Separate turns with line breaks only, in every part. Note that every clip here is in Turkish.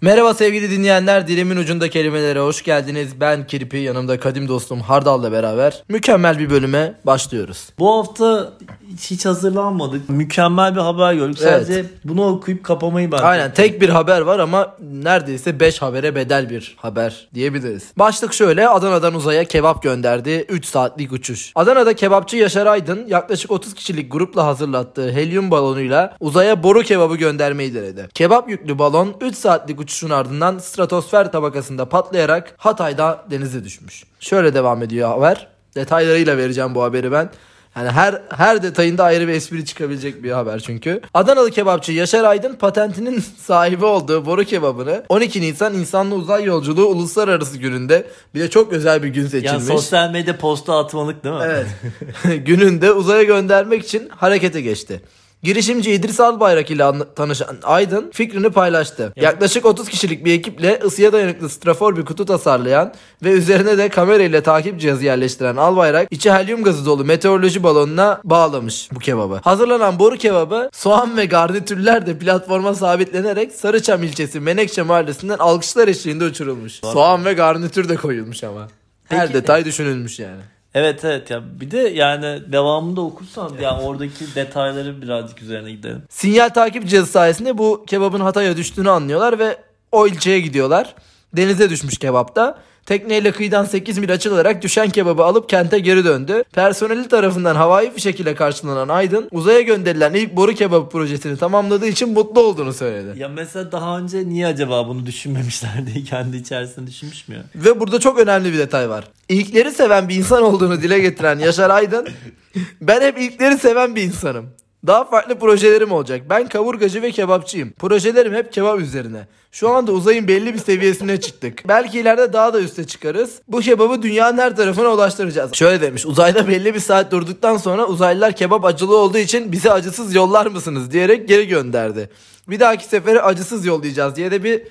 Merhaba sevgili dinleyenler, dilimin ucunda kelimelere hoş geldiniz. Ben Kirpi, yanımda kadim dostum Hardal'la beraber mükemmel bir bölüme başlıyoruz.
Bu hafta hiç, hiç hazırlanmadık. Mükemmel bir haber gördük.
Evet.
Sadece bunu okuyup kapamayı ben.
Aynen tek bir haber var ama neredeyse 5 habere bedel bir haber diyebiliriz. Başlık şöyle Adana'dan uzaya kebap gönderdi 3 saatlik uçuş. Adana'da kebapçı Yaşar Aydın yaklaşık 30 kişilik grupla hazırlattığı helyum balonuyla uzaya boru kebabı göndermeyi denedi. Kebap yüklü balon 3 saatlik uçuşun ardından stratosfer tabakasında patlayarak Hatay'da denize düşmüş. Şöyle devam ediyor haber. Detaylarıyla vereceğim bu haberi ben. Yani her her detayında ayrı bir espri çıkabilecek bir haber çünkü. Adanalı kebapçı Yaşar Aydın patentinin sahibi olduğu boru kebabını 12 Nisan insanlı uzay yolculuğu uluslararası gününde bir de çok özel bir gün
Yani
seçilmiş.
sosyal medya posta atmalık değil mi?
Evet. Gününde uzaya göndermek için harekete geçti. Girişimci İdris Albayrak ile anla- tanışan Aydın fikrini paylaştı. Yaklaşık 30 kişilik bir ekiple ısıya dayanıklı strafor bir kutu tasarlayan ve üzerine de kamera ile takip cihazı yerleştiren Albayrak içi helyum gazı dolu meteoroloji balonuna bağlamış bu kebabı. Hazırlanan boru kebabı soğan ve garnitürler de platforma sabitlenerek Sarıçam ilçesi Menekşe mahallesinden alkışlar eşliğinde uçurulmuş. Soğan ve garnitür de koyulmuş ama. Her
Peki-
detay düşünülmüş yani.
Evet evet ya bir de yani devamında okursan yani oradaki detayları birazcık üzerine gidelim.
Sinyal takip cihazı sayesinde bu kebabın Hatay'a düştüğünü anlıyorlar ve o ilçeye gidiyorlar. Denize düşmüş kebapta. Tekneyle kıyıdan 8 mil açılarak düşen kebabı alıp kente geri döndü. Personeli tarafından havai fişek ile karşılanan Aydın uzaya gönderilen ilk boru kebabı projesini tamamladığı için mutlu olduğunu söyledi.
Ya mesela daha önce niye acaba bunu düşünmemişler diye kendi içerisinde düşünmüş mü ya?
Ve burada çok önemli bir detay var. İlkleri seven bir insan olduğunu dile getiren Yaşar Aydın ben hep ilkleri seven bir insanım. Daha farklı projelerim olacak. Ben kavurgacı ve kebapçıyım. Projelerim hep kebap üzerine. Şu anda uzayın belli bir seviyesine çıktık. Belki ileride daha da üste çıkarız. Bu kebabı dünyanın her tarafına ulaştıracağız. Şöyle demiş. Uzayda belli bir saat durduktan sonra uzaylılar kebap acılı olduğu için bizi acısız yollar mısınız diyerek geri gönderdi. Bir dahaki sefere acısız yollayacağız diye de bir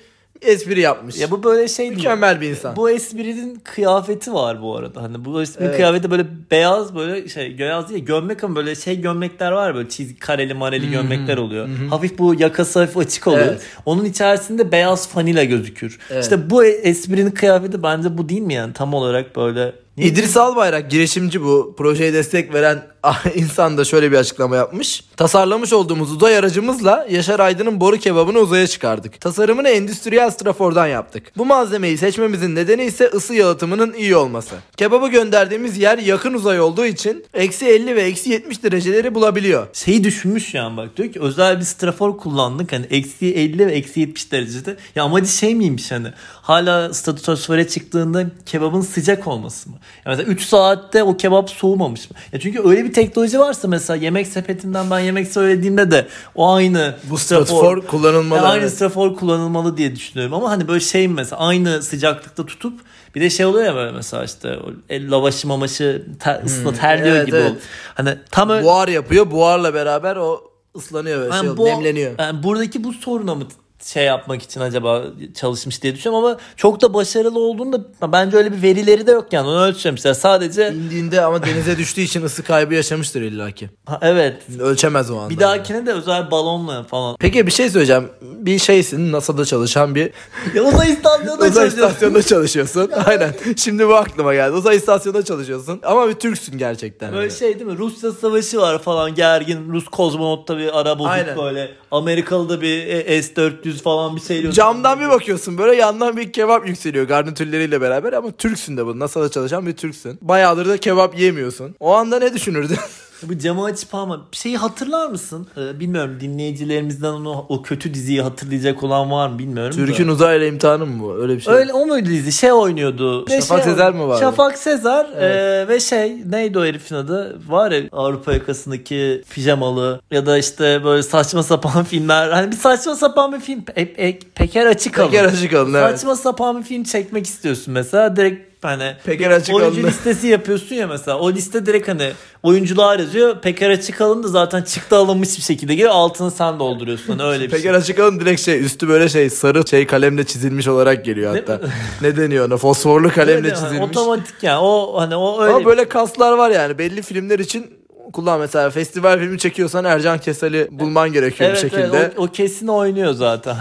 espri yapmış.
Ya bu böyle şey değil.
mükemmel bir insan.
Bu esprinin kıyafeti var bu arada. Hani bu esprinin
Evet.
kıyafeti böyle beyaz böyle şey beyaz değil gömlek ama böyle şey gömlekler var böyle çizgi kareli mareli gömlekler oluyor. Hafif bu yakası hafif açık oluyor.
Evet.
Onun içerisinde beyaz fanila gözükür.
Evet.
İşte bu e, esprinin kıyafeti bence bu değil mi yani tam olarak böyle. Niye-
İdris Albayrak girişimci bu. Projeye destek veren insan da şöyle bir açıklama yapmış. Tasarlamış olduğumuz uzay aracımızla Yaşar Aydın'ın boru kebabını uzaya çıkardık. Tasarımını endüstriyel strafordan yaptık. Bu malzemeyi seçmemizin nedeni ise ısı yalıtımının iyi olması. Kebabı gönderdiğimiz yer yakın uzay olduğu için eksi 50 ve eksi 70 dereceleri bulabiliyor.
şeyi düşünmüş yani bak diyor ki özel bir strafor kullandık hani eksi 50 ve eksi 70 derecede. Ya amacı şey miymiş hani hala statüsöre çıktığında kebabın sıcak olması mı? Ya mesela 3 saatte o kebap soğumamış mı? Ya çünkü öyle bir teknoloji varsa mesela yemek sepetinden ben yemek söylediğimde de o aynı
Bu strafor kullanılmalı.
ya aynı
evet.
strafor kullanılmalı diye düşünüyorum ama hani böyle şey mesela aynı sıcaklıkta tutup bir de şey oluyor ya böyle mesela işte o el lavaşı mamaşı ter, ısla terliyor
evet,
gibi
Hmm. evet.
oluyor. Hani tam öyle,
Buhar yapıyor. Buharla beraber o ıslanıyor ve
yani
şey,
bu-
nemleniyor.
yani buradaki bu soruna mı şey yapmak için acaba çalışmış diye düşünüyorum ama çok da başarılı olduğunu da bence öyle bir verileri de yok yani onu ölçmemişler. Sadece
İndiğinde ama denize düştüğü için ısı kaybı yaşamıştır illaki.
ha, evet
Ölçemez o anda.
bir dahakine de özel balonla falan.
Peki bir şey söyleyeceğim. Bir şeysin NASA'da çalışan bir
Ya uzay istasyonunda
uzay
çalışıyorsun.
istasyonunda çalışıyorsun. Aynen. Şimdi bu aklıma geldi. Uzay istasyonunda çalışıyorsun. Ama bir Türksün gerçekten.
Böyle şey değil mi? Rusya savaşı var falan gergin. Rus kozmonot da bir ara bozuk
Aynen.
böyle. Amerikalı da bir e, S-400 falan bir şey diyor.
Camdan bir bakıyorsun böyle yandan bir kebap yükseliyor garnitürleriyle beraber ama Türksün de bu. NASA'da çalışan bir Türksün. Bayağıdır da kebap yemiyorsun. O anda ne düşünürdün?
Bu camı açıp ama bir şeyi hatırlar mısın? Ee, bilmiyorum dinleyicilerimizden onu o kötü diziyi hatırlayacak olan var mı bilmiyorum. da.
Türk'ün uzayla imtihanı mı bu? Öyle bir şey.
Öyle o muydu dizi? Şey oynuyordu. Bir de
Şafak
şey
Sezer
oynuyordu.
mi vardı?
Şafak Sezer e, ve şey neydi o herifin adı? Var ya Avrupa yakasındaki pijamalı ya da işte böyle saçma sapan filmler. Hani bir saçma sapan bir film. E, e, peker açık alın.
Peker Açıkalın evet.
Saçma sapan bir film çekmek istiyorsun mesela direkt hani
Peker Açıkalın'ı-
oyuncu listesi yapıyorsun ya mesela o liste direkt hani oyuncular yazıyor Peker Açıkalın da zaten çıktı alınmış bir şekilde geliyor altını sen dolduruyorsun hani öyle bir
Peker
şey.
Açıkalın direkt şey üstü böyle şey sarı şey kalemle çizilmiş olarak geliyor
Ne-
hatta. ne deniyor ona? Fosforlu kalemle
Öyle hani
çizilmiş.
Otomatik yani o hani o öyle.
Ama böyle kaslar var yani belli filmler için kullan mesela festival filmi çekiyorsan Ercan Kesel'i bulman gerekiyor bir şekilde.
o, o kesin oynuyor zaten.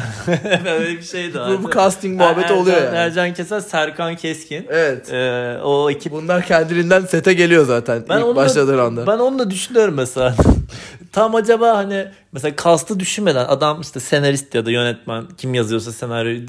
Öyle bir şey de
bu, bu casting muhabbeti
Ercan-
oluyor yani.
Ercan Kesel, Serkan Keskin.
Evet.
Ee, o ekip
Bunlar kendiliğinden sete geliyor zaten
Ben onu
ilk
da-
başladığı anda.
Ben onu da düşünüyorum mesela. Tam acaba hani mesela kastı düşünmeden adam işte senarist ya da yönetmen kim yazıyorsa senaryoyu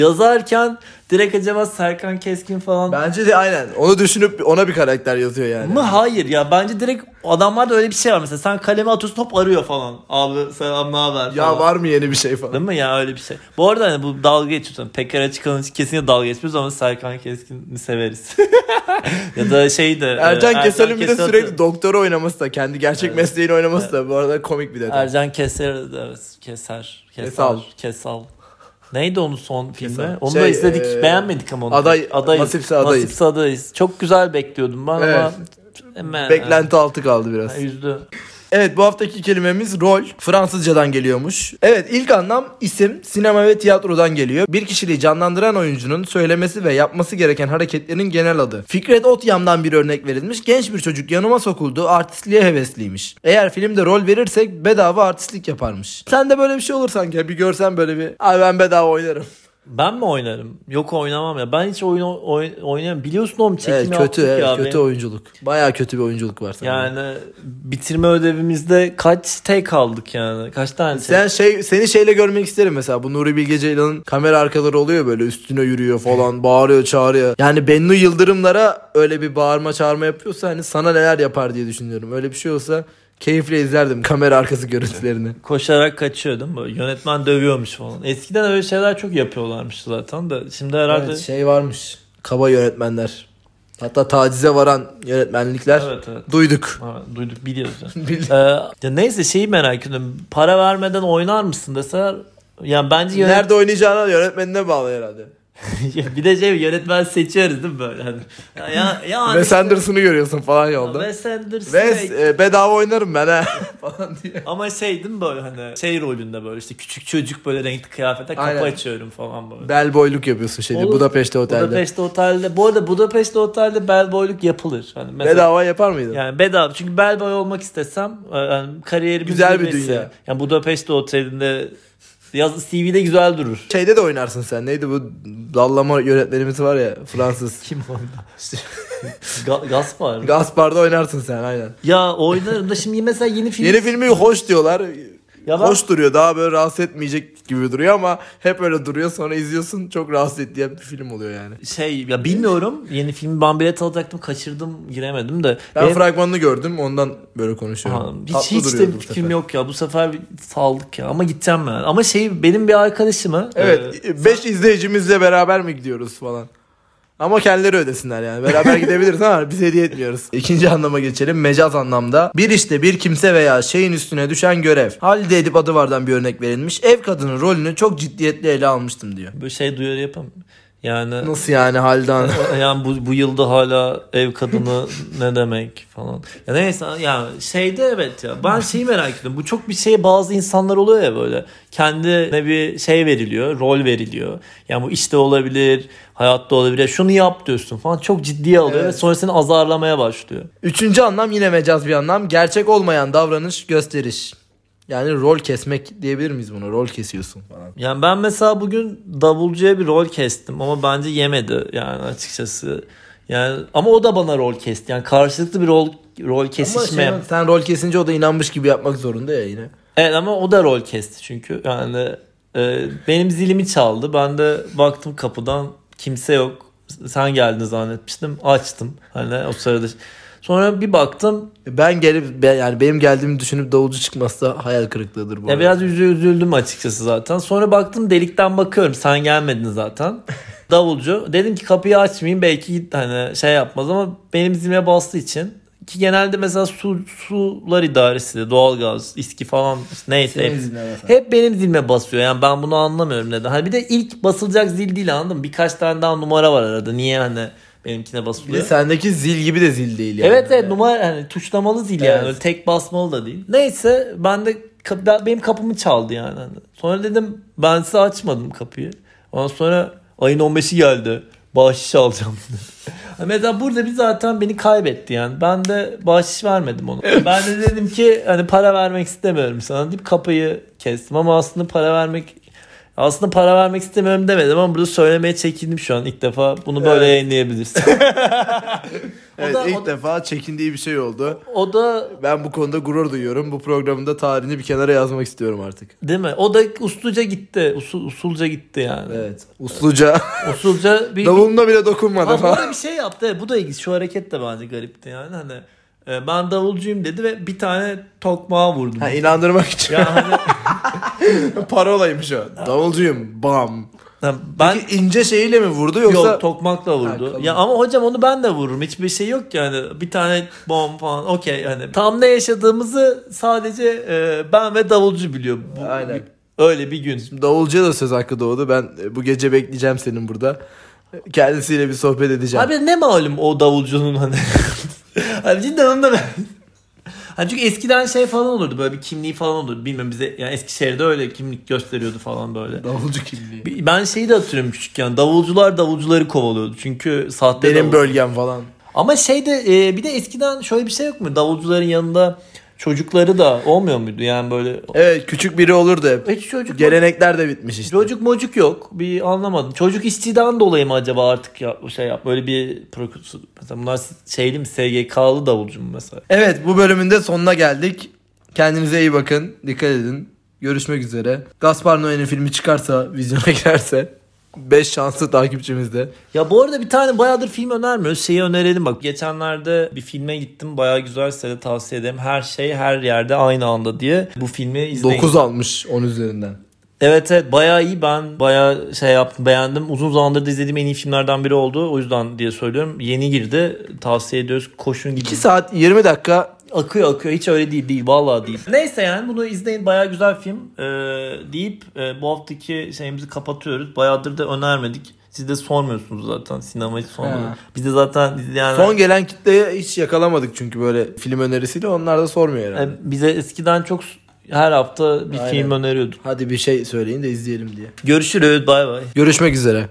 yazarken direkt acaba Serkan Keskin falan
Bence de aynen. Onu düşünüp ona bir karakter yazıyor yani.
mı? Hayır ya bence direkt adamlarda öyle bir şey var mesela sen kaleme atıyorsun top arıyor falan. Abi selam ne haber?
Ya
falan.
var mı yeni bir şey falan.
Değil mi ya öyle bir şey. Bu arada hani bu dalga geçiyorsun. Pekkara çıkan için kesinlikle dalga geçmiyoruz ama Serkan Keskin'i severiz. ya da şey de.
Ercan Kesel'in bir de
Kesel-
sürekli doktora oynaması da kendi gerçek mesleğini oynaması da bu arada komik bir detay.
Ercan Keser, evet, Keser,
Kesal.
Kesal, Kesal. Neydi onun son filmi? Onu
Şey,
da izledik.
e,
Beğenmedik ama onu.
aday- Nasipse adayız.
Nasipse adayız. Çok güzel bekliyordum ben
Evet.
ama hemen e,
Beklenti altı kaldı biraz.
yani Üzdü.
Evet bu haftaki kelimemiz rol. Fransızcadan geliyormuş. Evet ilk anlam isim, sinema ve tiyatrodan geliyor. Bir kişiliği canlandıran oyuncunun söylemesi ve yapması gereken hareketlerin genel adı. Fikret Otyam'dan bir örnek verilmiş. Genç bir çocuk yanıma sokuldu. Artistliğe hevesliymiş. Eğer filmde rol verirsek bedava artistlik yaparmış. Sen de böyle bir şey olur sanki. ya, Bir görsen böyle bir. Ay ben bedava oynarım.
Ben mi oynarım? Yok oynamam ya. Ben hiç oyun oyn, oynayamam. Biliyorsun oğlum çekimi
Evet kötü
yaptık
evet,
ya.
kötü
Benim-
oyunculuk. Baya kötü bir oyunculuk var sende.
Yani bitirme ödevimizde kaç tek aldık yani? Kaç tane tek?
Sen şey seni şeyle görmek isterim mesela. Bu Nuri Bilge Ceylan'ın kamera arkaları oluyor böyle üstüne yürüyor falan, bağırıyor, çağırıyor. Yani Bennu Yıldırımlara öyle bir bağırma çağırma yapıyorsa hani sana neler yapar diye düşünüyorum. Öyle bir şey olsa keyifle izlerdim kamera arkası görüntülerini.
koşarak kaçıyor değil mi? Böyle Yönetmen dövüyormuş falan. Eskiden öyle şeyler çok yapıyorlarmış zaten da. Şimdi herhalde
Evet, şey varmış. Kaba yönetmenler. Hatta tacize varan yönetmenlikler
Evet, evet.
duyduk.
Ha, duyduk biliyoruz. yani.
Bildim.
Ee, ya neyse şeyi merak ediyorum. Para vermeden oynar mısın deseler yani bence yönet-
Nerede oynayacağına yönetmenine bağlı herhalde.
bir de şey yönetmen seçiyoruz değil mi böyle? Hani, ya ya, ya
Wes Anderson'ı görüyorsun falan yolda.
Wes Anderson. şey-
Wes e, bedava oynarım ben ha falan diye.
Ama şey değil mi böyle hani şey rolünde böyle işte küçük çocuk böyle renkli kıyafete kapı
Aynen.
açıyorum falan böyle.
Bellboyluk yapıyorsun şeyde
Olur.
Budapeşte otelde.
Budapest otelde. Bu arada Budapest otelde bellboyluk yapılır. Hani mesela
Bedava yapar mıydın?
Yani bedava. Çünkü bellboy olmak istesem e, yani kariyerimin
Güzel bir
zirvesi.
dünya.
Yani Budapest otelinde yaz CV'de güzel durur.
Şeyde de oynarsın sen. Neydi bu dallama yönetmenimiz var ya Fransız.
Kim onda? Ga- Gaspar.
Gaspar'da oynarsın sen aynen.
ya oynarım da şimdi mesela yeni film.
Yeni filmi hoş diyorlar.
Ya ben-
Hoş duruyor. Daha böyle rahatsız etmeyecek gibi duruyor ama hep öyle duruyor. Sonra izliyorsun çok rahatsız ettiği bir film oluyor yani.
şey ya bilmiyorum. Yeni filmi ben bilet alacaktım. Kaçırdım giremedim de.
Ben
Benim-
fragmanını gördüm ondan böyle konuşuyorum.
Ha, hiç,
Tatlı
hiç
duruyordu
de
bu
fikrim
sefer.
yok ya. Bu sefer bir saldık ya. Ama gideceğim ben. Ama şey benim bir arkadaşımı. e,
Evet 5 izleyicimizle beraber mi gidiyoruz falan. Ama kendileri ödesinler yani. Beraber gidebiliriz ama biz hediye etmiyoruz. İkinci anlama geçelim. Mecaz anlamda. Bir işte bir kimse veya şeyin üstüne düşen görev. Halide Edip adı vardan bir örnek verilmiş. Ev kadının rolünü çok ciddiyetle ele almıştım diyor.
böyle şey duyarı yapamıyorum. Yani
Nasıl yani Halide Hanım?
yani bu, bu yılda hala ev kadını ne demek falan. Ya neyse ya şeyde evet ya ben şeyi merak ettim. Bu çok bir şey bazı insanlar oluyor ya böyle. Kendine bir şey veriliyor, rol veriliyor. Yani bu işte olabilir, hayatta olabilir. Şunu yap diyorsun falan. Çok ciddiye alıyor
Evet.
ve sonra seni azarlamaya başlıyor.
Üçüncü anlam yine mecaz bir anlam. Gerçek olmayan davranış gösteriş. Yani rol kesmek diyebilir miyiz bunu? Rol kesiyorsun falan.
Yani ben mesela bugün davulcuya bir rol kestim ama bence yemedi yani açıkçası. Yani ama o da bana rol kesti. Yani karşılıklı bir rol rol
Ama
kesişme.
şey, sen rol kesince o da inanmış gibi yapmak zorunda ya yine.
Evet ama o da rol kesti çünkü. Yani e, benim zilimi çaldı. Ben de baktım kapıdan kimse yok. Sen geldin zannetmiştim. Açtım. Hani o sırada. Sonra bir baktım.
Ben gelip ben- yani benim geldiğimi düşünüp davulcu çıkmazsa hayal kırıklığıdır bu.
Ya
arada.
biraz üzü- üzüldüm açıkçası zaten. Sonra baktım delikten bakıyorum. Sen gelmedin zaten. Davulcu. Dedim ki kapıyı açmayayım. Belki hani şey yapmaz ama benim zilime bastığı için ki genelde mesela su, sular idaresi de doğalgaz, iski falan neyse
Senin
hepsi-
izin evet.
Hep benim zilime basıyor. Yani ben bunu anlamıyorum neden. Hani bir de ilk basılacak zil değil anladın mı? Birkaç tane daha numara var arada. Niye hani benimkine
Bir de
basılıyor?
sendeki zil gibi de zil değil yani.
evet evet numara hani tuşlamalı zil
Evet.
yani. Öyle tek basmalı da değil. Neyse ben de kap- ben- benim kapımı çaldı yani. Hani Sonra dedim ben size açmadım kapıyı. Ondan sonra ayın 15'i geldi. Bahşiş alacağım. Mesela burada bir zaten beni kaybetti yani. Ben de bahşiş vermedim ona. Ben de dedim ki hani para vermek istemiyorum sana deyip kapıyı kestim. Ama aslında para vermek aslında para vermek istemiyorum demedim ama burada söylemeye çekindim şu an ilk defa. Bunu böyle
Evet.
yayınlayabilirsin.
Evet,
o da,
ilk
o da,
defa çekindiği bir şey oldu.
o da
Ben bu konuda gurur duyuyorum. Bu programın da tarihini bir kenara yazmak istiyorum artık.
değil mi? O da usulca gitti. Usul, usulca gitti yani.
Evet. Usluca.
Usulca bir
Davuluna bile dokunmadım.
Ama bu da bir şey yaptı. evet. Bu da ilginç. Şu hareket de bence garipti yani. Hani e, ben davulcuyum dedi ve bir tane tokmağa vurdu.
Ha, inandırmak için.
Ya hani-
Parolaymış o. Davulcuyum. Bam.
ha, ben
Peki ince şeyiyle mi vurdu yoksa?
yok tokmakla vurdu.
Ha, kalın.
ya ama hocam onu ben de vururum. Hiçbir şey yok yani. Bir tane bom falan. Okey yani. Tam ne yaşadığımızı sadece e, ben ve davulcu biliyor. Bu-
Aynen.
Öyle bir gün.
Davulcuya da söz hakkı doğdu. Ben e, bu gece bekleyeceğim senin burada. Kendisiyle bir sohbet edeceğim.
Abi ne malum o davulcunun hani. Abi cidden onu da ben. Hani çünkü eskiden şey falan olurdu böyle bir kimliği falan olurdu. Bilmem bize yani Eskişehir'de öyle kimlik gösteriyordu falan böyle.
Davulcu kimliği.
Bir- Ben şeyi de hatırlıyorum küçükken. Davulcular davulcuları kovalıyordu. Çünkü sahte
Benim
davul-
bölgem falan.
Ama şeyde e, bir de eskiden şöyle bir şey yok mu? Davulcuların yanında çocukları da olmuyor muydu? Yani böyle
Evet küçük biri olurdu hep.
hiç çocuk
Gelenekler de bitmiş işte.
Çocuk mocuk yok. Bir anlamadım. Çocuk işçiden dolayı mı acaba artık ya, şey yap böyle bir prokusu. Mesela bunlar şeyli mi SGK'lı davulcu mu mesela?
Evet bu bölümün de sonuna geldik. Kendinize iyi bakın. Dikkat edin. Görüşmek üzere. Gaspar Noé'nin filmi çıkarsa, vizyona girerse 5 şanslı takipçimizde.
Ya bu arada bir tane bayağıdır film önermiyoruz. Şeyi önerelim bak. Geçenlerde bir filme gittim. Bayağı güzel size de tavsiye ederim. Her şey her yerde aynı anda diye. Bu filmi izleyin.
9 almış 10 üzerinden.
Evet evet bayağı iyi ben bayağı şey yaptım beğendim. Uzun zamandır da izlediğim en iyi filmlerden biri oldu. O yüzden diye söylüyorum. Yeni girdi. Tavsiye ediyoruz. Koşun gidin.
2 saat 20 dakika
Akıyor akıyor hiç öyle değil değil vallahi değil. Neyse yani bunu izleyin bayağı güzel film Ee, deyip e, bu haftaki şeyimizi kapatıyoruz. Bayağıdır da önermedik. Siz de sormuyorsunuz zaten sinemayı sormuyoruz.
He.
Biz de zaten izleyenler...
son gelen kitleye hiç yakalamadık çünkü böyle film önerisiyle onlar da sormuyor herhalde.
E, bize eskiden çok s- her hafta bir
Aynen.
film öneriyorduk.
Hadi bir şey söyleyin de izleyelim diye.
Görüşürüz bay bay.
Görüşmek üzere.